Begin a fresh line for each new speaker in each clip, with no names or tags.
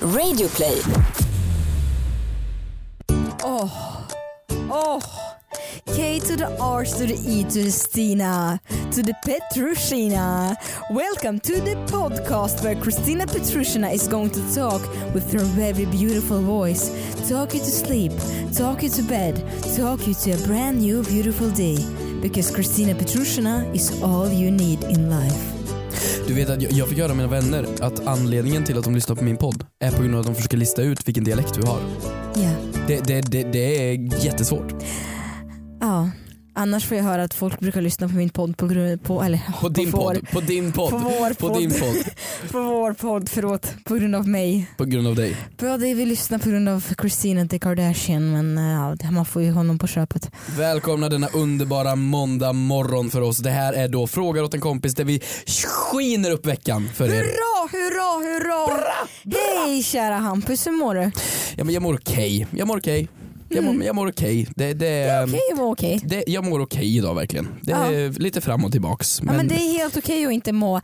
Radioplay.
Åh, åh. K to the R to the E to the Stina to the Petrushina. Welcome to the podcast where Christina Petrushina is going to talk with her very beautiful voice. Talk you to sleep, talk you to bed, talk you to a brand new beautiful day. Because Christina Petrushina is all you need in life.
Du vet att jag- jag fick höra av mina vänner att anledningen till att de lyssnar på min podd är på grund av att de försöker lista ut vilken dialekt du har.
Ja,
Det, det, det, det är jättesvårt.
ja. Annars får jag höra att folk brukar lyssna på min podd på grund på, eller
På din
vår-
podd, på din
På
podd,
vår
på
podd.
din podd,
på vår podd, förlåt, på grund av mig.
på grund av dig.
Ja, det vill lyssna på grund av Christina de Kardashian men eh, ja, det- man får ju honom på köpet.
Välkomna denna underbara måndag morgon för oss. Det här är då frågar åt en kompis där vi skiner upp veckan för er.
Hurra, hurra, hurra! Hej kära Hampus, hur mår du?
Ja, men jag mår okej, jag mår okej. Jag mår, jag mår okej. Det, det,
Okej, okay, okej.
det, jag mår okej idag verkligen. Det är lite fram och tillbaks.
Ja, men det är helt okej att inte må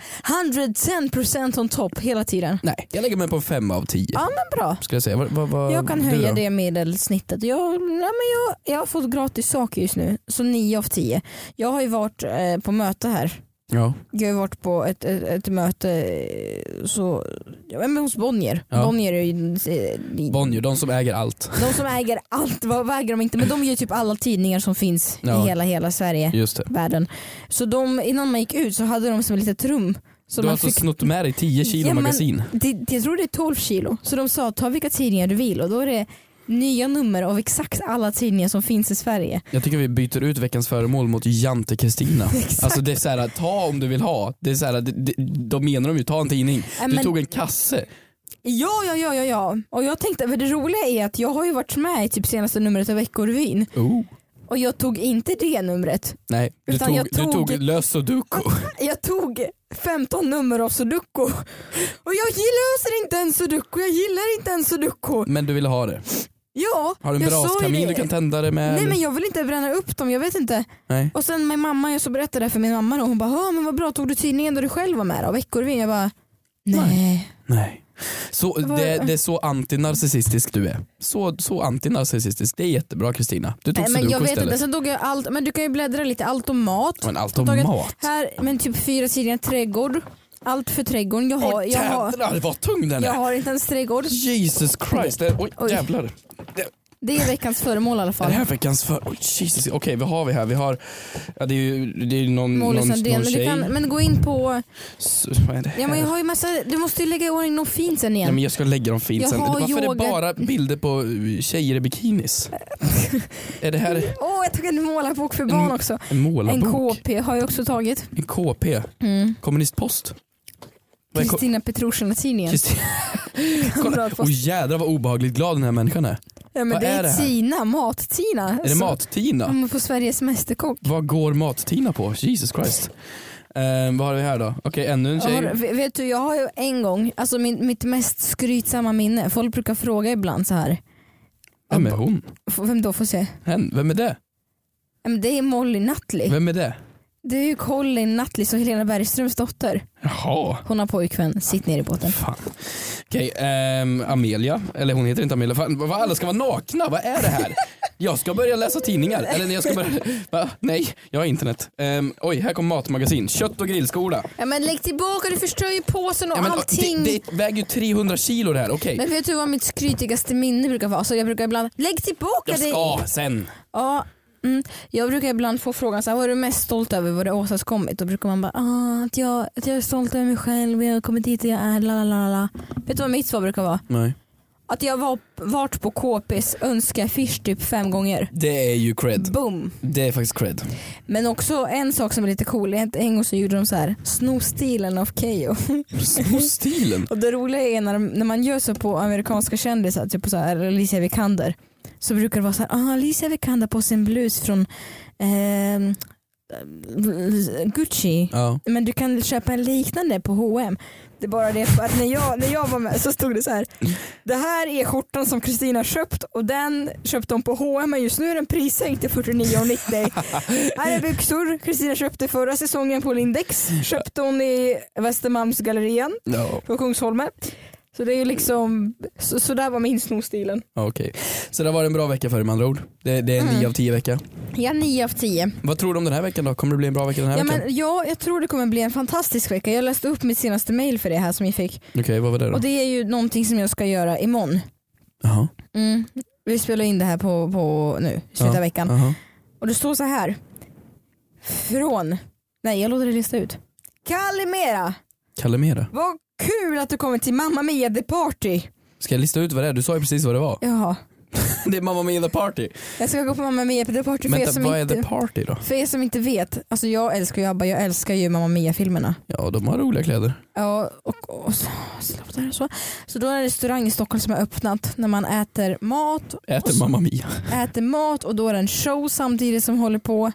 110% on top hela tiden.
Nej, jag lägger mig på fem av tio.
Ja men bra.
Ska jag säga. Vad- vad- vad-
Jag kan
du
höja
då?
det medelsnittet. Jag, nej men jag, jag har fått gratis saker just nu, så 9 av 10. Jag har ju varit eh, på möte här
Ja.
Jag har ju varit på ett, ett, ett möte eh, så, ja, men hos Bonnier.
Ja.
Bonnier är ju eh,
Bonnier, de som äger allt.
de som äger allt, vad vad äger de inte? Men de gör typ alla tidningar som finns
Ja.
i hela, hela Sverige,
Just det.
världen. Så de, innan man gick ut så hade de som ett litet rum. Så
du har
man
alltså
fick,
snott med dig 10 kilo
Ja, men-
magasin.
det, det- jag tror det är 12 kilo. Så de sa ta vilka tidningar du vill och då är det nya nummer av exakt alla tidningar som finns i Sverige.
Jag tycker vi byter ut veckans föremål mot Jante Kristina.
Exakt.
Alltså det är såhär, ta om du vill ha. Det är såhär, det, det, då menar de ju ta en tidning.
Äh,
Du
men-
tog en kasse.
Ja, ja, ja, ja, ja. Och jag tänkte, för det roliga är att jag har ju varit med i typ senaste numret av Veckorevyn
Oh.
och jag tog inte det numret.
Nej, du
Utan
tog,
jag
du
tog-
tog lös sudoku.
Jag tog 15 nummer av sudoku och jag löser inte en sudoku, jag gillar inte en sudoku.
Men du ville ha det.
Ja,
Har du en
jag sa ju
braskamin
det.
du kan tända det med?
Nej men jag vill inte bränna upp dem, jag vet inte.
Nej.
Och sen min mamma, jag så berättade det här för min mamma och hon bara "Ja, men vad bra, tog du tidningen där du själv var med då? Veckorevyn? Jag bara nej.
Nej. Så,
Vad-
det, det är så antinarcissistisk du är. Så, så antinarcissistisk. Det är jättebra Kristina. Du tog
Nej men jag
sudoku
vet
istället.
inte, sen tog jag allt, men du kan ju bläddra lite, allt om mat.
Men allt
Jag
om
har tagit-
mat.
Här, men typ fyra tidningar trädgård. Allt för trädgården. Jag har,
Åh
jag har,
jävlar vad tung den är.
jag har inte ens trädgård.
Jesus Christ. Det, oj,
Oj.
jävlar. Det,
Det är veckans föremål i alla
är det
fall.
här veckans för... Oj, Jesus. Okej, vad har vi här? Vi har... Ja, det är ju det är ju någon, någon,
Molly
Mm, någon
Sandén. Men, du
tjej.
kan, men gå in på...
S- vad är det här?
Ja, men jag har ju massa, du måste ju lägga i ordning något fint sen
Nej,
igen.
men jag ska lägga dem fint
Jag
sen.
har
Varför är
yoga.
det bara bilder på uh, tjejer i bikinis? är det här
Åh, jag tog en målarbok för barn också.
en målarbok?
En KP har jag också tagit.
En KP? Kommunistpost? Vad är ko-
Kristina Petrushina-tidningen.
Kristin- Kolla.
Kamratpost.
Och jädrar vad obehagligt glad den här människan är.
Ja, men
vad
det
är det
är
här?
Tina, Mat-Tina.
Är det Mat-Tina?
Ja, men på Sveriges Mästerkock.
Vad går mat-Tina på? Jesus Christ. Eh, vad har vi här då? Okej, ännu en
Jag
tjej.
har, vet du, jag har ju en gång, alltså min, mitt mest skrytsamma minne, folk brukar fråga ibland så här.
Vem är hon?
F- Vem då får se?
Hen? Vem är det?
Ja, men Det är Molly Nutley.
Vem är det?
Det är ju Colin Nutley och Helena Bergströms dotter.
Jaha.
Hon har pojkvän, sitt ner i båten.
Fan. Okej, ehm, Amelia. Eller hon heter inte Amelia. Fan, vad, alla ska vara nakna, vad är det här? Jag ska börja läsa tidningar. Eller nej, jag ska börja... Va? Nej, jag har internet. Ehm, oj, här kommer matmagasin. Kött och grillskola.
Ja, men lägg tillbaka, du förstör ju påsen och
Ja, men,
allting.
Det, det väger ju 300 kilo det här, okej.
Men vet du vad mitt skrytigaste minne brukar vara? Så jag brukar ibland, lägg tillbaka
Jag
det.
ska sen.
Ja, mm. Jag brukar ibland få frågan så här, vad är du mest stolt över vad du har åstadkommit? Då brukar man bara, ah, att, jag, att jag är stolt över mig själv, jag har kommit dit jag är, la la la la. Vet du vad mitt svar brukar vara?
Nej.
Att jag var, varit på KPs önskeaffisch typ fem gånger.
Det är ju cred.
Boom.
Det är faktiskt cred.
Men också en sak som är lite cool, en en gång så gjorde de så här, sno stilen av Keyyo.
Stilen.
Och det roliga är när, de- när man gör så på amerikanska kändisar, typ på så här Alicia Vikander, så brukar det vara så här, ah, Alicia Vikander på sin blus från ehm, Gucci.
Ja.
Men du kan köpa en liknande på H&M. Det är bara det för att när jag, när jag var med så stod det så här. Det här är skjortan som Kristina har köpt och den köpte hon på H&M men just nu är den prissänkt till 49,90. här är byxor Kristina köpte förra säsongen på Lindex. Köpte hon i Västermalmsgallerian
Ja.
på Kungsholmen. Så det är ju liksom, så, så där var min snorstilen.
Ja, Okej. Så det har varit en bra vecka för dig med andra ord. Det, det är en 9
Mm.
av 10 vecka.
Ja, 9 av 10.
Vad tror du om den här veckan då? Kommer det bli en bra vecka den här
Ja,
veckan?
men, ja, jag tror det kommer bli en fantastisk vecka. Jag läste upp mitt senaste mail för det här som jag fick.
Okej, vad var det då?
Och det är ju någonting som jag ska göra imorgon.
Jaha.
Mm. Vi spelar in det här på, på nu, i slutet
Ja.
av veckan.
Jaha.
Och det står så här. Från, nej jag låter det lista ut. Kalimera,
Kalimera.
vad kul att du kommer till Mamma Mia the Party.
Ska jag lista ut vad det är? Du sa ju precis vad det var.
Jaha,
det är Mamma Mia the Party.
jag ska gå på Mamma Mia the Party för er,
Vänta,
som
vad är
inte,
the party då?
för er som inte vet. Alltså jag älskar ju ABBA, jag älskar ju Mamma Mia filmerna.
Ja, de har roliga kläder.
Ja, och, och så, slå där och så. så då är det en restaurang i Stockholm som har öppnat när man äter mat, Och
Äter
så-
Mamma Mia.
äter mat och då är det en show samtidigt som håller på.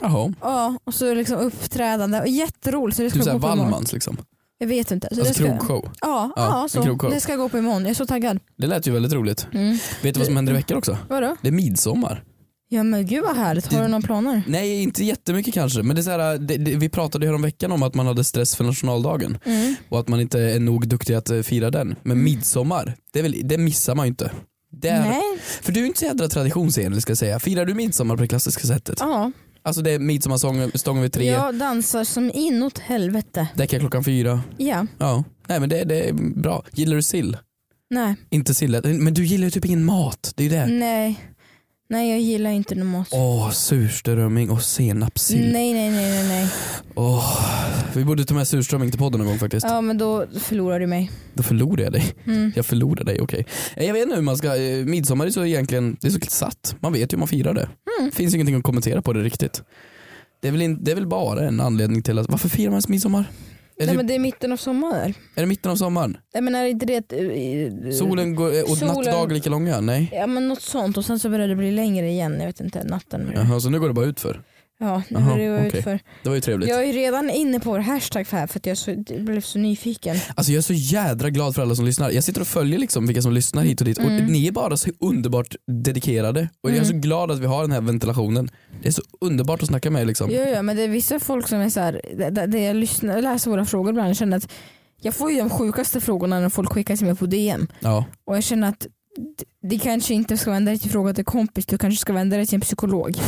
Jaha.
Ja, och så är det liksom uppträdande och jätteroligt. Så det ska
Typ
jag
såhär
gå på imorgon.
Wallmans liksom.
Jag vet inte. Så
Alltså
det ska...
krogshow.
Ja,
Ja,
ja,
en
så.
krogshow.
det ska jag gå på imorgon. Jag är så taggad.
Det lät ju väldigt roligt.
Mm.
Vet du vad som händer i veckan också?
Vadå?
Det är midsommar.
Ja men gud vad härligt. Har
Det-
du några planer?
Nej, inte jättemycket kanske. Men det är så här, det, det, vi pratade ju veckan om att man hade stress för nationaldagen
Mm.
och att man inte är nog duktig att eh, fira den. Men midsommar, det, är väl, det missar man ju inte. Det är,
Nej.
För du är inte så jädra traditionsenlig ska jag säga. Firar du midsommar på det klassiska sättet?
Ja.
Alltså det är midsommarsång stången vid tre,
Jag dansar som inåt helvete.
däckar klockan fyra.
Ja.
Ja, nej men det, det är bra. Gillar du sill?
Nej.
Inte sill, men du gillar ju typ ingen mat. Det är ju
Mm.
det.
Nej. Nej jag gillar inte någon mat.
Åh, surströmming och senapssill.
Nej nej nej nej nej.
Åh, vi borde ta med surströmming till podden någon gång faktiskt.
Ja men då förlorar du mig.
Då förlorar jag dig.
Mm.
Jag förlorar dig, okej. Eh, Jag vet inte hur man ska, eh, midsommar är så egentligen, det är så satt. Man vet ju hur man firar det.
Mm.
Finns ingenting att kommentera på det riktigt. Det är väl, in, det är väl bara en anledning till att, varför firar man ens midsommar? Är,
Nej
det, typ,
men det är mitten av sommaren.
är det mitten av sommaren?
Nej men är det inte det att... eh,
Solen går, eh, och
solen-
natt och dag lika långa? Nej.
Ja men något sånt och sen så börjar det bli längre igen. Jag vet inte, natten. börjar-
Jaha, så nu går det bara ut för.
Ja, nu
Jaha,
börjar det vara
okej.
utför.
Det var ju trevligt.
Jag är ju redan inne på vår hashtag för här för att jag så, blev så nyfiken.
Alltså jag är så jädra glad för alla som lyssnar. Jag sitter och följer liksom vilka som lyssnar hit och dit och
Mm.
ni är bara så underbart dedikerade och jag är så glad att vi har den här ventilationen. Det är så underbart att snacka med er liksom.
Ja, ja, men det är vissa folk som är så här, där, där jag lyssnar, jag läser våra frågor ibland, jag känner att jag får ju de sjukaste frågorna när folk skickar till mig på DM
Ja.
och jag känner att d- det kanske inte ska vända dig till fråga till kompis, du kanske ska vända dig till en psykolog.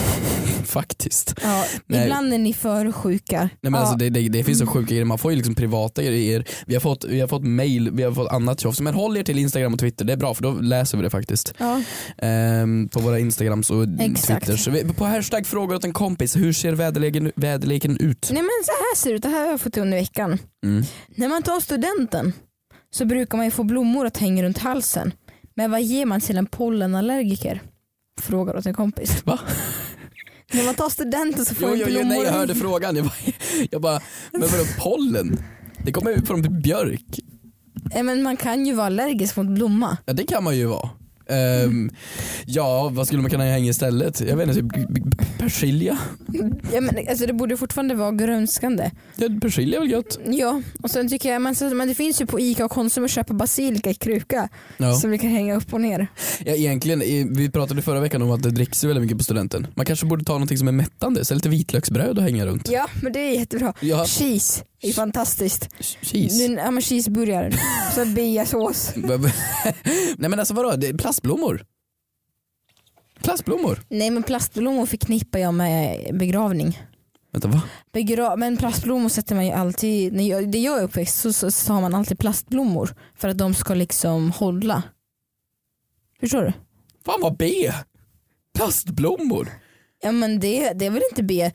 Faktiskt.
Ja,
Nej.
ibland är ni för sjuka.
Nej, men
ja, Mm.
alltså det, det, det finns så sjuka grejer, man får ju liksom privata grejer, vi har fått, vi har fått mail, vi har fått annat tjofs. Men håll er till Instagram och Twitter, det är bra för då läser vi det faktiskt.
ja.
Ehm, på våra Instagrams och
Exakt.
Twitters. Vi- På hashtag frågar åt en kompis, hur ser väderleken, väderleken ut?
Nej men så här ser det ut, det här har jag fått under veckan.
Mm.
När man tar studenten så brukar man ju få blommor att hänga runt halsen. Men vad ger man till en pollenallergiker? Frågar åt en kompis.
Va?
När man tar studenten så får
Jo,
man
jo,
blommor.
jo, nej, jag hörde frågan. Jag bara, jag bara men vadå pollen? Det kommer ju från björk.
Nej, men man kan ju vara allergisk mot blomma.
Ja, det kan man ju vara. Ehm,
Mm.
Ja, vad skulle man kunna hänga istället? Jag vet inte, typ b- b- persilja?
Ja, men, alltså, det borde fortfarande vara grönskande.
Ja, persilja är väl gött?
Ja, och sen tycker jag, men, så, men det finns ju på ICA och Konsum att köpa basilika i kruka
Ja.
som vi kan hänga upp och ner.
Ja, egentligen, eh, vi pratade förra veckan om att det dricks ju väldigt mycket på studenten. Man kanske borde ta någonting som är mättande, så lite vitlöksbröd och hänga runt.
Ja, men det är jättebra.
Ja,
Cheese är fantastiskt.
cheese.
Nu, ja, men cheeseburgare. så biasås.
Nej men alltså vadå, det är plastblommor. Plastblommor?
Nej men plastblommor förknippar jag med begravning.
Vänta va?
Begra men plastblommor sätter man ju alltid, när jag, det jag är uppväxt så, så, så har man alltid plastblommor för att de ska liksom hålla. Förstår du?
Fan vad B! Plastblommor?
Ja men det, det är väl inte B.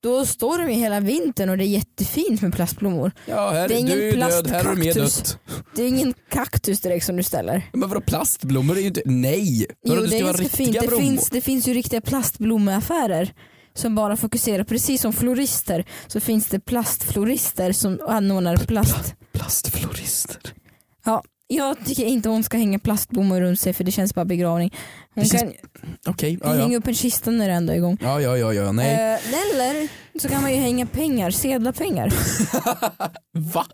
Då står de ju hela vintern och det är jättefint med plastblommor.
Ja, här,
Det är ingen
du är ju död, här är du med
plastkaktus.
dött.
Det är ingen kaktus direkt som du ställer.
Men vadå plastblommor är ju inte, nej! Vadå,
Jo
det
det
ska
är
vara
ganska fint.
riktiga
Det
blommor.
finns, det finns ju riktiga plastblommeaffärer som bara fokuserar, precis som florister så finns det plastflorister som anordnar plast
Plastflorister.
Jag tycker inte hon ska hänga plastblommor runt sig för det känns bara begravning. Hon
Det känns-
kan
Okej, ja, ja.
hänga upp en kista när det ändå är igång.
Ja, ja, ja, ja, nej.
Eh, eller så kan man ju hänga pengar, sedlapengar.
Va?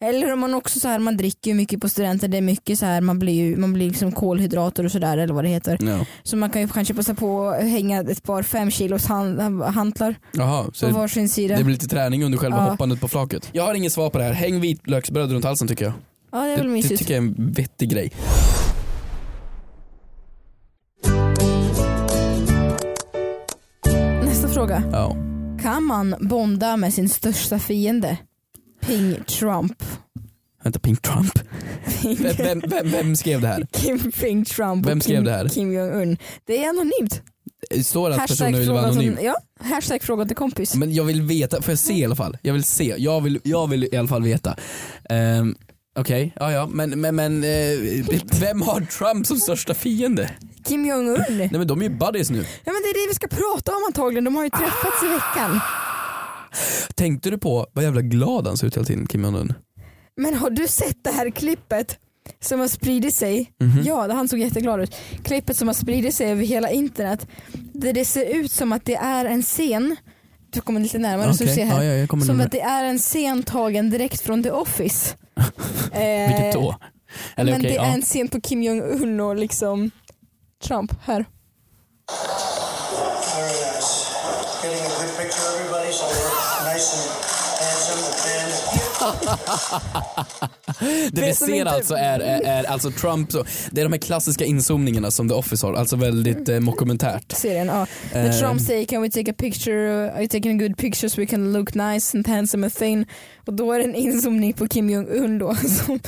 eller om man också så här, man dricker ju mycket på studenten, det är mycket så här, man blir ju man blir liksom kolhydrater och sådär eller vad det heter.
Ja.
Så man kan ju kanske passa på att hänga ett par fem kilos hand, hantlar
Jaha,
på
så
varsin sida.
det blir lite träning under själva
Ja.
hoppandet på flaket. Jag har inget svar på det här, häng vitlöksbröd runt halsen tycker jag.
Ja, det är väl
Det, det
mysigt.
tycker jag är en vettig grej.
Nästa fråga.
Ja.
Kan man bonda med sin största fiende? Ping Trump.
Vänta, Pink Trump. Vem, vem, vem, vem skrev det här?
Kim Ping Trump
Vem
och
skrev
Kim,
det här?
Kim Jong-Un. Det är anonymt.
Står det att personen vill vara
fråga
anonym?
Till, ja, hashtag fråga till kompis.
Men jag vill veta, får jag se i alla fall? Jag vill se, jag vill, jag vill i alla fall veta. Ehm, Okej, ja ja, men, men, men eh, vem har Trump som största fiende?
Kim Jong-Un.
Nej men de är ju buddies nu.
Ja, men det är det vi ska prata om antagligen, de har ju träffats i veckan.
Tänkte du på vad jävla glad han ser ut hela tiden, Kim Jong-Un?
Men har du sett det här klippet som har spridit sig?
Mhm.
Ja, han såg jätteglad ut. Klippet som har spridit sig över hela internet där det ser ut som att det är en scen, du kommer lite närmare så du
Okej,
ser här.
ja, ja, jag kommer
Som
närmare.
att det är en scen tagen direkt från The Office. Eh,
Vilket då? Eller
men
okej,
det
ja.
är en scen på Kim Jong-Un och liksom Trump här.
Very nice. Getting a good picture of everybody, so we're nice and handsome and thin.
Det
Det
vi
som
ser
inte-
alltså är, är, är alltså Trump, så, det är de här klassiska inzoomningarna som The Office har, alltså väldigt eh, mockumentärt. Ehm,
serien. Ja. När
Um,
Trump säger can we take a picture, are you taking a good picture so we can look nice and handsome and thin. Och då är det en inzoomning på Kim Jong-Un då som,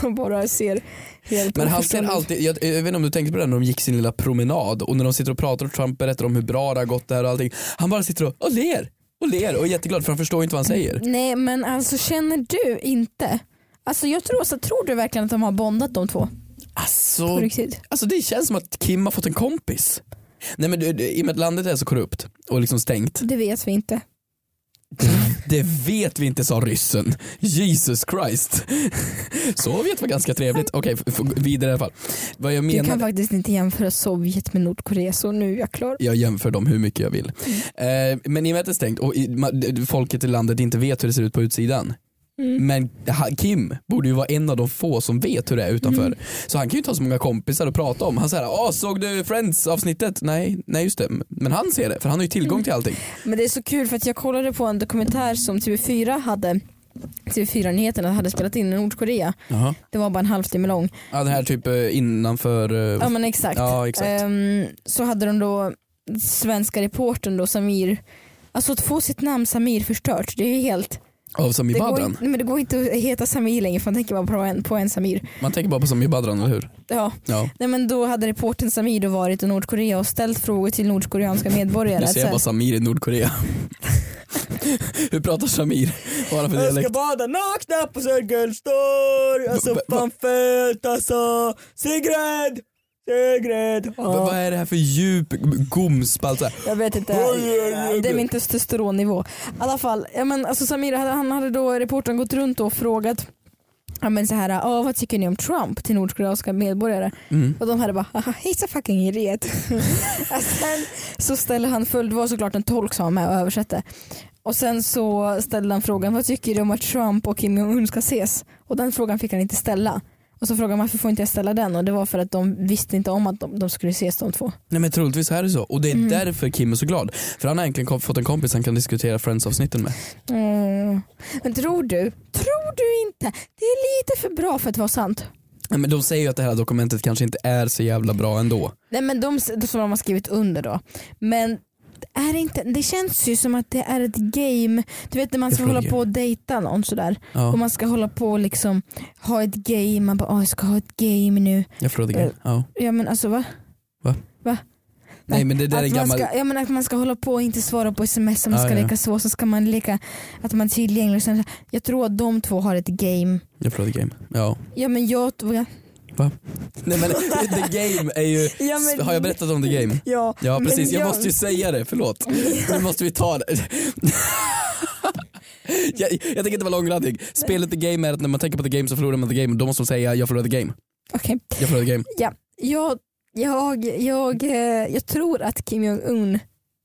som bara ser helt
Men han ser
oförstående ut.
alltid, jag, jag vet inte om du tänkte på det när de gick sin lilla promenad och när de sitter och pratar och Trump berättar om hur bra det har gått där och allting. Han bara sitter och, och ler och ler och är jätteglad för han förstår ju inte vad han säger.
Nej men alltså känner du inte? Alltså jag tror, så tror du verkligen att de har bondat de två? På
Alltså,
riktigt?
alltså det känns som att Kim har fått en kompis. Nej men du, du, i och med att landet är så korrupt och liksom stängt,
Det vet vi inte.
det vet vi inte sa ryssen. Jesus Christ. Sovjet var ganska trevligt. Okej, f- f- vidare i alla fall. Vad jag
Du
menar
kan faktiskt inte jämföra Sovjet med Nordkorea så nu är jag klar.
jag jämför dem hur mycket jag vill. Eh, men i och med att det är stängt och i, ma- d- folket i landet inte vet hur det ser ut på utsidan.
Mm.
Men ha- Kim borde ju vara en av de få som vet hur det är utanför.
Mm.
Så han kan ju inte ha så många kompisar att prata om. Han säger ah såg du Friends avsnittet? Nej, nej just det. Men han ser det för han har ju tillgång
Mm.
till allting.
Men det är så kul för att jag kollade på en dokumentär som TV4 hade TV4-nyheterna hade spelat in i Nordkorea.
Jaha.
Det var bara en halvtimme lång.
Ja, den här typ eh, innanför. eh,
Ja men exakt.
Ja, exakt.
Ehm, så hade de då svenska reportern då Samir, alltså att få sitt namn Samir förstört det är ju helt,
Av Sami
det går,
Badran.
inte- nej, men det går inte att heta Samir längre för man tänker bara på en, på en Samir.
Man tänker bara på Sami Badran, eller hur?
Ja.
Ja.
Nej men då hade reportern Samir då varit i Nordkorea och ställt frågor till nordkoreanska medborgare.
Nu
Att
ser
så
jag
här,
bara Samir i Nordkorea. hur pratar Samir? Vad har han för
Jag
dialekt?
ska bada nakna på Sergelstår, alltså
Va- va-
fan fett alltså. Sigrid! Sigrid!
Va-
Ja.
Vad är det här för djup gomspalt? så här?
Jag vet inte, det är min testosteronnivå. I alla fall, ja, men, alltså, Samir, hade- han hade då, reportern gått runt och frågat Ja men så här, "Ja, vad tycker ni om Trump till nordkoreanska medborgare?
Mm.
Och de hade bara, haha he's a fucking idiot. Och sen så ställer han följd, det var såklart en tolk som var med och översatte. Och sen så ställde han frågan, vad tycker du om att Trump och Kim Jong-Un ska ses? Och den frågan fick han inte ställa. Och så frågade han varför får inte jag ställa den? Och det var för att de visste inte om att de, de skulle ses de två.
Nej men troligtvis är det så och det är
Mm.
därför Kim är så glad. För han har egentligen kom- fått en kompis han kan diskutera Friends-avsnitten med.
Mm. Men tror du, tror du inte? Det är lite för bra för att vara sant.
Nej, men de säger ju att det här dokumentet kanske inte är så jävla bra ändå.
Nej men de de som de har skrivit under då. Men är det, inte, det känns ju som att det är ett game. Du vet när man
Det
ska
är
hålla
ett
på och dejta någon sådär. Och
Ja,
man ska hålla på och liksom ha ett game. Man bara, "Åh, jag ska ha ett game nu.
jag förlåter
Eh,
Kim. Ja.
Ja men alltså va?
Va?
Va?
Nej men det där är
att, man
gammal...
ska, ja, men att man ska hålla på och inte svara på sms, man
Ja,
ska
ja.
leka så, så ska man leka att man är tillgänglig. Och sen, jag tror att de två har ett game.
Jag förlåter Kim. Ja.
Ja men jag, ja,
Nej men The Game är ju...
Ja, men-
Har jag berättat om The Game?
ja,
Ja
men
precis, jag, måste ju säga det, förlåt. Nu måste vi ta det. jag, jag tänker inte vara långrandig. Spelet The Game är att när man tänker på The Game så förlorar man The Game och då måste man säga jag förlorade The Game.
Okej.
Jag förlorade The Game.
Ja, jag, jag, jag, eh, jag tror att Kim Jong-Un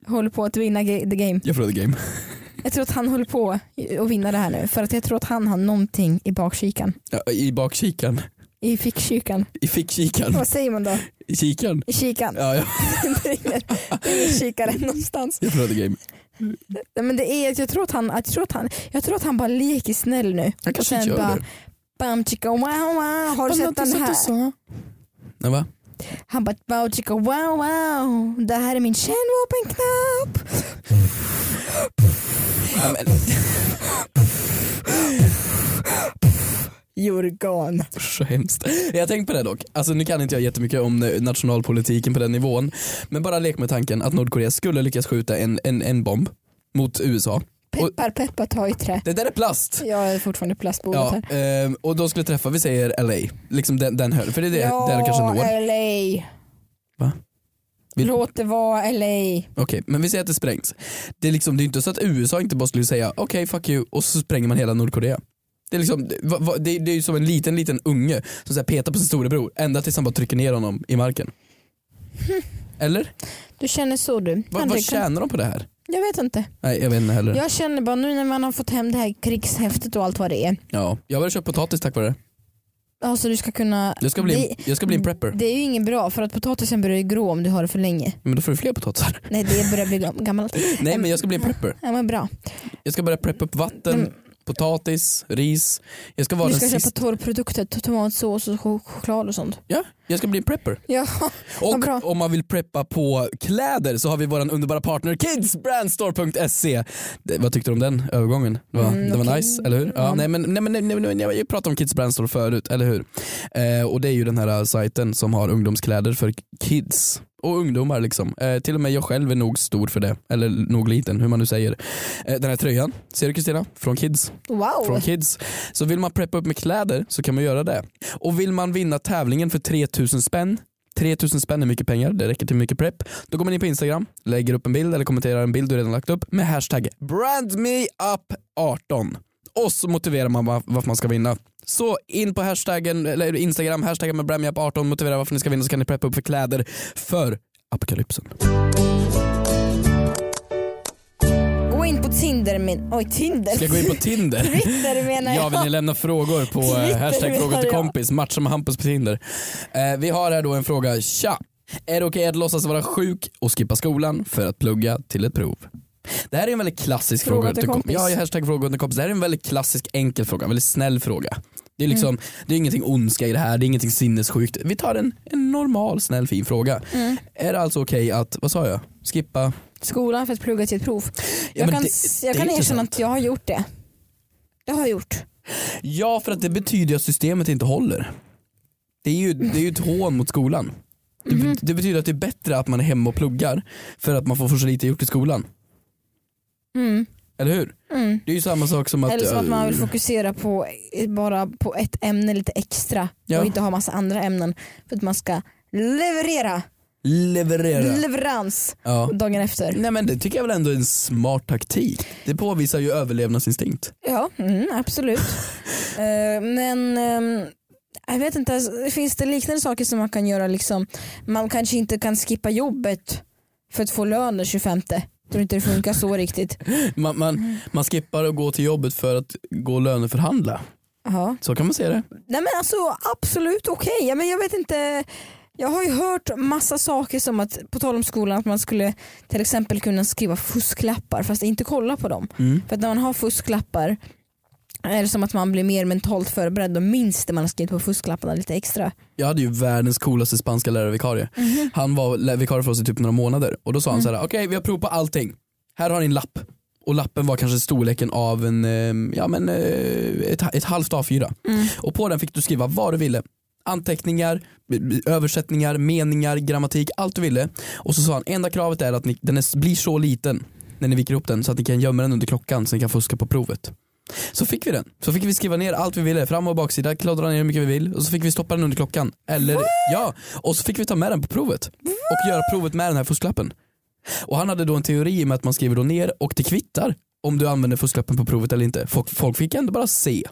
håller på att vinna ge- the game.
Jag förlorade The Game.
Jag tror att han håller på att vinna det här nu för att jag tror att han har någonting i bakkikan.
Ja, I bakkikaren.
I fickkikan.
I fickkikaren.
Vad säger man då?
I kikaren.
I kikan.
Ja, ja.
Det ringer. Det är i kikaren någonstans.
Jag förlorade game.
Nej, Men det är, jag, tror att han, jag, tror att han, jag tror att han bara leker snäll nu.
Han kanske
Och sen
inte gör
bara,
det.
Bam chicka wow wow. Har du sett den här?
Ja, va?
Han bara wow chicka wow wow. Det här är min kärnvapenknapp.
Ja, men,
You're gone.
så hemskt. Jag har tänkt på det dock. Alltså, nu kan inte jag jättemycket om eh, nationalpolitiken på den nivån. Men bara lek med tanken att Nordkorea skulle lyckas skjuta en, en, en bomb mot USA. Och,
Peppar peppar ta i trä.
det där är plast.
Jag är fortfarande plastbordet
Ja,
här.
ehm, och de skulle träffa, vi säger LA, liksom den, den höll, för det är det,
ja,
där de kanske når.
LA.
Va? Vill-
Låt det vara LA.
Okej, men vi säger att det sprängs. Det är, liksom, det är inte så att USA inte bara skulle säga okej fuck you och så spränger man hela Nordkorea. Det är, liksom, det- va- va- det är, det är ju som en liten liten unge som så här petar på sin storebror ända tills han bara trycker ner honom i marken. Eller?
Du känner så du.
Va,
Henrik,
vad tjänar de på det här?
Jag vet inte.
Nej jag vet inte heller.
Jag känner bara nu när man har fått hem det här krigshäftet och allt vad det är.
Ja, jag har börjat köpa potatis tack vare det.
Alltså du ska kunna...
Jag ska bli, jag ska bli en prepper.
det, det är ju inget bra för att potatisen börjar ju grå om du har det för länge.
Men då får du fler potatisar.
Nej det börjar bli gam- gammalt.
Nej men jag ska bli en prepper.
Ja, men bra.
Jag ska börja preppa upp vatten, potatis, ris. Jag ska vara
Mm. Du
den
ska köpa
sista.
torrprodukter, t- tomatsås och chok- choklad och sånt.
Ja, jag ska bli en prepper.
Ja, Vad bra.
Och om man vill preppa på kläder så har vi vår underbara partner kidsbrandstore.se. E. Det- Vad tyckte du om den övergången? Det var,
Mm,
det var
okej. Mm.
nice, eller hur? Ja,
Ja.
nej, men, nej, men, nej, nej, nej, nej, jag pratade om Kids Brandstore förut, eller hur? Eh, och det är ju den här sajten som har ungdomskläder för kids och ungdomar liksom. Eh, till och med jag själv är nog stor för det, eller nog liten hur man nu säger. Eh, den här tröjan, ser du Kristina? Från Kids
wow.
från kids. Så vill man preppa upp med kläder så kan man göra det. Och vill man vinna tävlingen för 3000 spänn 3000 spänn är mycket pengar, det räcker till mycket prepp. Då går man in på Instagram, lägger upp en bild eller kommenterar en bild du redan lagt upp med hashtag brandmeup18. Och så motiverar man va- varför man ska vinna. Så in på hashtaggen, eller Instagram, hashtaggen med brandmeup18, motivera varför ni ska vinna så kan ni preppa upp för kläder för apokalypsen.
Gå in på Tinder min... Oj Tinder.
Ska jag gå in på Tinder?
Twitter menar
Ja,
jag.
vill ni lämna frågor på eh,
Twitter
hashtag
menar
frågor till
jag.
kompis, matcha med Hampus på Tinder. Eh, vi har här då en fråga, tja! Är det okej att låtsas vara sjuk och skippa skolan för att plugga till ett prov? Det här är en väldigt klassisk
Fråga
fråga.
till
kom-
kompis.
Ja, hashtag fråga till kompis. Det här är en väldigt klassisk enkel fråga, en väldigt snäll fråga. Det är, liksom,
Mm.
det är ingenting ondska i det här, det är ingenting sinnessjukt. Vi tar en, en normal, snäll, fin fråga.
Mm.
Är det alltså okej att, vad sa jag, skippa?
Skolan för att plugga till ett prov. Jag
men
kan,
det-
s-
det
jag
är
kan erkänna
intressant.
att jag har gjort det. Det har jag gjort.
Ja, för att det betyder ju att systemet inte håller. Det är ju, det är ju ett hån mot skolan. Det,
Mm.
be- det betyder att det är bättre att man är hemma och pluggar för att man får för så lite gjort i skolan.
Mm.
Eller hur?
Mm.
Det är ju samma sak som att... eh,
Eller som att man vill fokusera på, eh, bara på ett ämne lite extra
Ja.
och inte ha massa andra ämnen för att man ska leverera
Leverera.
leverans
ja.
dagen efter.
Nej men det tycker jag väl ändå är en smart taktik. Det påvisar ju överlevnadsinstinkt.
Ja, mm, absolut. Eh, men ehm, jag vet inte, alltså, finns det liknande saker som man kan göra? Liksom? Man kanske inte kan skippa jobbet för att få lön den 25. Tror inte det funkar så riktigt.
Man,
Mm.
man, man skippar att gå till jobbet för att gå och löneförhandla.
Ja.
Så kan man se det.
Nej men alltså absolut okej. Ja, men jag vet inte. Jag har ju hört massa saker som att, på tal om skolan, att man skulle till exempel kunna skriva fusklappar fast inte kolla på dem.
Mm.
För att när man har fusklappar är det som att man blir mer mentalt förberedd och minns det man har skrivit på fusklapparna lite extra.
Jag hade ju världens coolaste spanska lärarvikarie. Han var lä- vikarie för oss i typ några månader och då sa han så här: okej vi har prov på allting. Här har ni en lapp. Och lappen var kanske storleken av en, eh, ja, men, eh, ett, ett halvt A4. Och på den fick du skriva vad du ville. Anteckningar, b- b- översättningar, meningar, grammatik, allt du ville. Och så sa han, enda kravet är att ni, den är, s- blir så liten när ni viker upp den så att ni kan gömma den under klockan så ni kan fuska på provet. Så fick vi den. Så fick vi skriva ner allt vi ville, fram och baksida, kladdra ner hur mycket vi vill och så fick vi stoppa den under klockan. Eller, ja, och så fick vi ta med den på provet och göra provet med den här fusklappen. Och han hade då en teori med att man skriver då ner och det kvittar om du använder fusklappen på provet eller inte. Folk, folk fick ändå bara se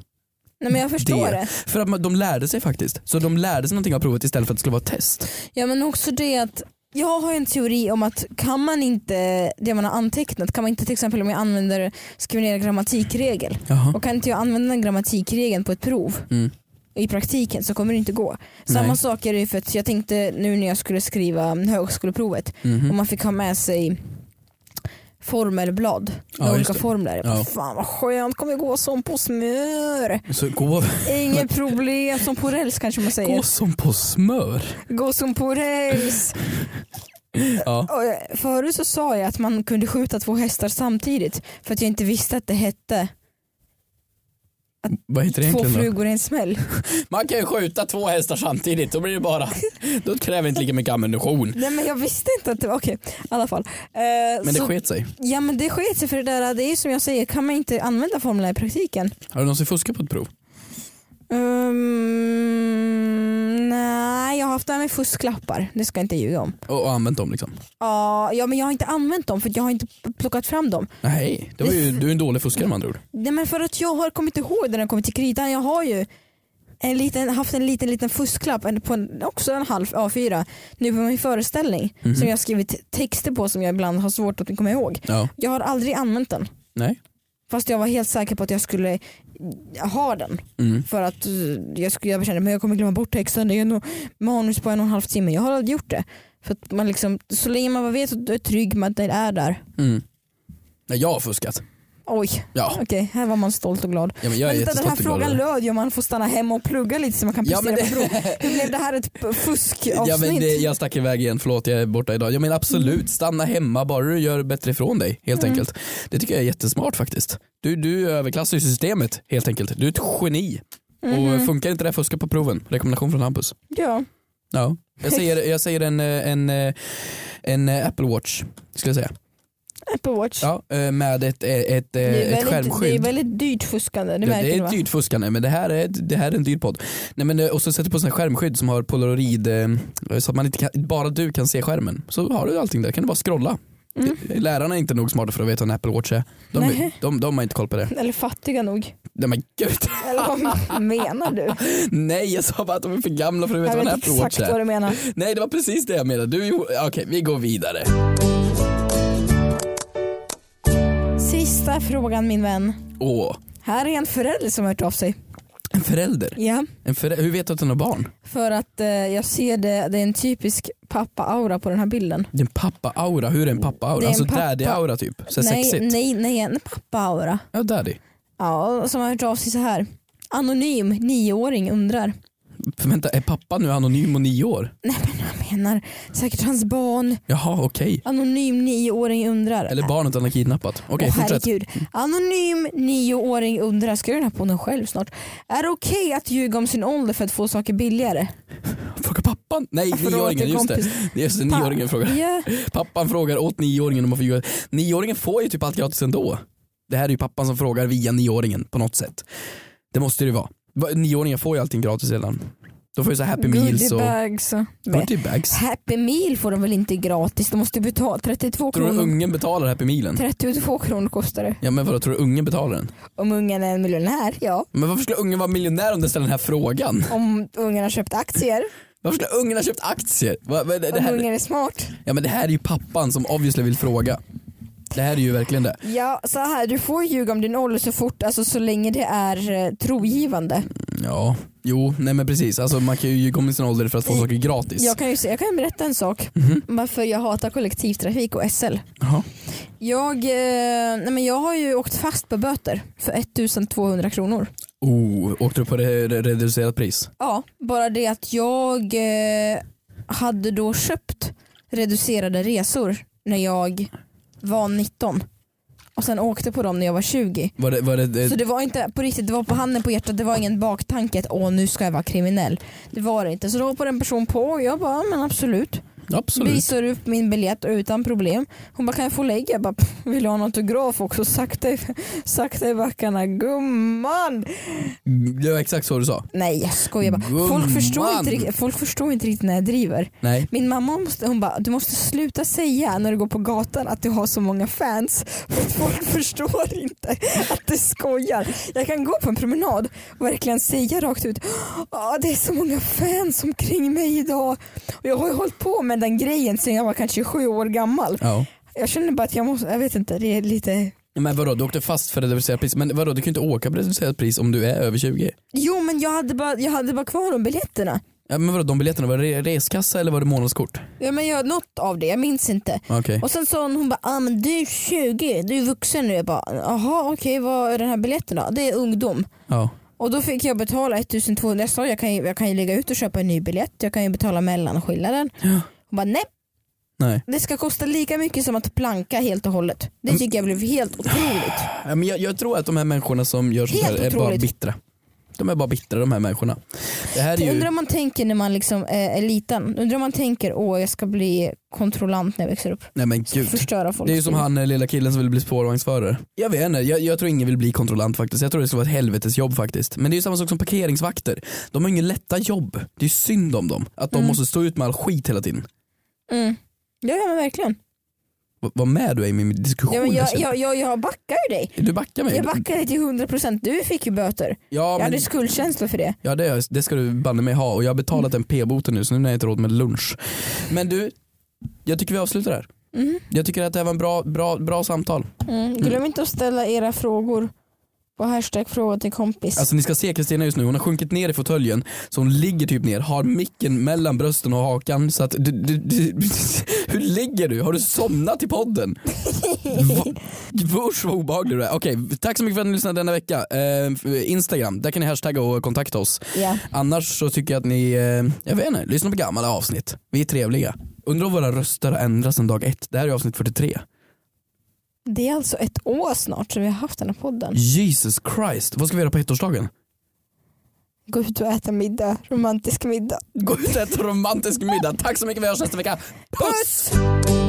Nej men jag förstår det.
för att man, de lärde sig faktiskt. Så de lärde sig någonting av provet istället för att det skulle vara ett test.
Ja men också det att jag har ju en teori om att kan man inte det man har antecknat, kan man inte till exempel om jag använder, skriver ner en grammatikregel
Jaha.
och kan inte jag använda den grammatikregeln på ett prov
Mm.
i praktiken så kommer det inte gå. Samma
Nej.
sak är det ju för att jag tänkte nu när jag skulle skriva högskoleprovet
Mhm.
och man fick ha med sig formelblad med
Ja, just
olika
det.
formler.
Ja.
Fan vad skönt, kommer jag gå som på smör.
Så gå,
Inget problem, som på räls kanske man säger.
gå som på smör.
Gå som på räls.
Ja.
Och, eh, Förut så sa jag att man kunde skjuta två hästar samtidigt för att jag inte visste att det hette
Vad heter det
två
egentligen då?
flugor i en smäll.
Man kan ju skjuta två hästar samtidigt, då blir det bara, då kräver inte lika mycket ammunition.
Nej men jag visste inte att det var okej. I alla fall. Eh,
Men det
så,
sket sig.
ja men det sket sig för det där, det är ju som jag säger, kan man inte använda formlerna i praktiken?
Har du någonsin fuskat på ett prov?
Um, nej, jag har haft det här med fusklappar, det ska jag inte ljuga om.
Och, och använt dem liksom?
Ja, ja men jag har inte använt dem för jag har inte plockat fram dem.
Nej, det var ju, du är en dålig fuskare med andra ord.
Nej men för att jag har kommit ihåg när den kommit till kritan. Jag har ju en liten, haft en liten liten fusklapp, en- på en, också en halv A4, nu på min föreställning som jag har skrivit texter på som jag ibland har svårt att komma ihåg.
Ja,
Jag har aldrig använt den.
nej.
Fast jag var helt säker på att jag skulle ha den.
Mm.
För att eh, jag, skulle, jag kände att jag kommer glömma bort texten. Det är nog manus på en och en halv timme. Jag har aldrig gjort det. För att man liksom, så länge man bara vet att du är trygg med att det är där.
Mm. Nej, jag har fuskat.
Oj,
Ja,
okej här var man stolt och glad.
ja men jag är
men vänta, den här
jättestolt och glad
frågan
över det.
löd ju om man får stanna hemma och plugga lite så man kan
Ja,
prestera
men
på prov. Hur blev det här ett p- fuskavsnitt?
Ja, men det, jag stack iväg igen, förlåt jag är borta idag. Ja men
Mm.
absolut, stanna hemma bara du gör bättre ifrån dig helt enkelt. Det tycker jag är jättesmart faktiskt. Du, du överklassar ju systemet helt enkelt. Du är ett geni.
Mm-hmm.
Och funkar inte det, fuska på proven. Rekommendation från Hampus.
Mhm. ja.
Ja. Jag säger, jag säger en, eh, en, eh, en eh, Apple Watch skulle jag säga.
Apple Watch.
Ja, eh, med ett, eh, ett, eh,
det, är
ett
väldigt, det är
skärmskydd.
väldigt dyrt fuskande, det
Ja,
märker
det
du
är
va?
ett dyrt fuskande men det här är, det här är en dyr podd. Nej, men, eh, och så sätter du på sån här skärmskydd som har polaroid eh, så att man inte kan, bara du kan se skärmen. Så har du allting där, kan du bara scrolla. Det- Lärarna är inte nog smarta för att veta vad en Apple Watch är. De, de,
Mm. Nej.
de, har inte koll på det.
Eller fattiga nog.
Nej men gud,
Eller vad menar du?
nej jag sa bara att de är för gamla för att veta
Jag
vad en
vet
Apple Watch
exakt vad du
är.
menar.
Nej det var precis det jag menade. Du, gjorde- okej vi går vidare.
Sista frågan min vän.
Åh,
Här är en förälder som har hört av sig.
en förälder.
Ja.
En förä- Hur vet du att den har barn?
För att eh, jag ser det, det är en typisk pappa-aura på den här bilden.
Det är en pappa-aura, hur är en
Det är
pappa-aura?
en
Alltså
pappa-
daddy-aura typ? Så här
nej,
sexigt?
nej, nej, en pappa-aura.
Ja daddy.
Ja, som har hört av sig så här. Anonym nioåring undrar.
För vänta, är pappa nu anonym och nio år?
Nej men jag menar säkert hans barn.
Jaha, okej.
Anonym nioåring undrar.
Eller barnet han har kidnappat. Okej,
Åh,
fortsätt.
herregud. Anonym nioåring undrar, ska jag göra den här på den själv snart? Är det okej att ljuga om sin ålder för att få saker billigare?
Frågar pappan? Nej,
förlåt,
nioåringen.
en
Just det.
kompis.
Just det, nioåringen frågar.
Ja.
Pappan frågar åt nioåringen om man får ljuga. Nioåringen får ju typ allt gratis ändå. Det här är ju pappan som frågar via nioåringen på något sätt. Det måste det ju vara. Va- Nioåringen får ju allting gratis redan. De får ju så här happy meals och
Goodiebags och...
party bags.
Happy meal får de väl inte gratis? De måste betala 32
Tror du
kronor.
ungen betalar happy mealen?
32 kronor kostar det.
Ja men vadå, tror du ungen betalar den?
Om ungen är en miljonär, ja.
Men varför skulle ungen vara miljonär om den ställer den här frågan?
Om ungen har köpt aktier.
Varför skulle ungen ha köpt aktier? Va- va- det- det
Om
här-
ungen är smart.
Ja men det här är ju pappan som obviously vill fråga. Det här är ju verkligen det.
Ja, så här, du får ljuga om din ålder så fort, alltså så länge det är eh, trogivande.
Ja, jo, nej men precis. Alltså man kan ju ljuga om sin ålder för att få saker gratis.
Eh, Jag kan ju se, jag kan berätta en sak.
Mhm.
Varför jag hatar kollektivtrafik och SL.
Jaha.
Jag, eh, nej men jag har ju åkt fast på böter för 1200 kronor.
Oh, åkte du på re- re- reducerat pris?
Ja, bara det att jag eh, hade då köpt reducerade resor när jag var 19 och sen åkte på dem när jag var 20.
Var det, var det,
Så det var inte på riktigt, det var på handen på hjärtat, det var ingen baktanke att åh nu ska jag vara kriminell. Det var det inte. Så då hoppade en person på och jag bara, "Ja, men absolut.
absolut.
Visar upp min biljett utan problem. Hon bara, kan jag få lägga? Jag bara, "Pff, vill du ha en autograf också? Sakta i, sakta i backarna, gumman.
Mm, Det var exakt så du sa.
Nej jag skojar bara.
Gumman.
Folk förstår, inte, rikt- folk förstår inte riktigt när jag driver.
Nej.
Min mamma måste, hon bara, du måste sluta säga när du går på gatan att du har så många fans. För att folk förstår inte att du skojar. Jag kan gå på en promenad och verkligen säga rakt ut, ah, det är så många fans omkring mig idag. Och jag har ju hållit på med den grejen sedan jag var kanske sju år gammal.
Ja.
Jag känner bara att jag måste, jag vet inte, det är lite
Men vadå, du åkte fast för reducerat pris. Men vadå, du kan ju inte åka på reducerat pris om du är över 20.
Jo men jag hade bara, jag hade bara kvar de biljetterna.
Ja, men vadå, de biljetterna, var det reskassa eller var det månadskort?
Ja, men jag har något av det, jag minns inte.
Okej.
Och sen sa hon, hon bara, ah, men du är 20, du är vuxen nu. Jag bara, jaha okej vad är den här biljetten då? Det är ungdom.
Ja.
Och då fick jag betala 1200. Jag sa jag kan, ju- jag kan ju lägga ut och köpa en ny biljett. Jag kan ju betala mellanskillnaden.
Ja.
Hon bara nej,
Nej.
det ska kosta lika mycket som att planka helt och hållet. Det tycker jag blev helt otroligt.
Ja, Äh, Men jag, jag tror att de här människorna som gör sånt här
Helt
är bara
otroligt.
bittra. De är bara bittra de här människorna. Det här är ju...
Undrar om man tänker när man liksom är, är liten. Undrar om man tänker åh jag ska bli kontrollant när jag växer upp.
Nej men gud.
Förstöra folk. liksom.
Det är ju som han eh, lilla killen som vill bli spårvagnsförare. Jag vet inte, jag, jag tror ingen vill bli kontrollant faktiskt. Jag tror det skulle vara ett helvetes jobb faktiskt. Men det är ju samma sak som parkeringsvakter. De har inga lätta jobb. Det är ju synd om dem. Att de måste stå ut med all skit hela tiden.
Mm. Ja, ja men verkligen.
V- Vad med du är i min diskussion.
Ja, men jag,
känner.
jag, jag, jag backar ju dig.
Du backar mig.
Jag backar dig till 100%. Du fick ju böter.
Ja,
Jag
men,
hade skuldkänslor för det.
ja det, det ska du banne mig ha. Och jag har
Mm.
betalat en p-boten nu så nu har jag inte råd med lunch. Men du, jag tycker vi avslutar där.
Mm.
Jag tycker att det här var en bra, bra, bra samtal.
Mm. Glöm inte att ställa era frågor på hashtag fråga till kompis.
Alltså ni ska se Kristina just nu, hon har sjunkit ner i fåtöljen så hon ligger typ ner, har micken mellan brösten och hakan så att du, du, du, Hur ligger du? Har du somnat i podden? Va- Usch vad obehaglig du är. Okej, tack så mycket för att ni lyssnade denna vecka. Eh, Instagram, där kan ni hashtagga och kontakta oss.
Ja.
Annars så tycker jag att ni, eh, jag vet inte, lyssna på gamla avsnitt. Vi är trevliga. Undrar om våra röster har ändrats sedan dag ett. Det här är avsnitt 43.
Det är alltså ett år snart som vi har haft den här podden.
Jesus Christ, vad ska vi göra på ettårsdagen?
Gå ut och äta middag, romantisk middag.
Gå ut och ät en romantisk middag. Tack så mycket, vi hörs nästa vecka. Puss!
Puss!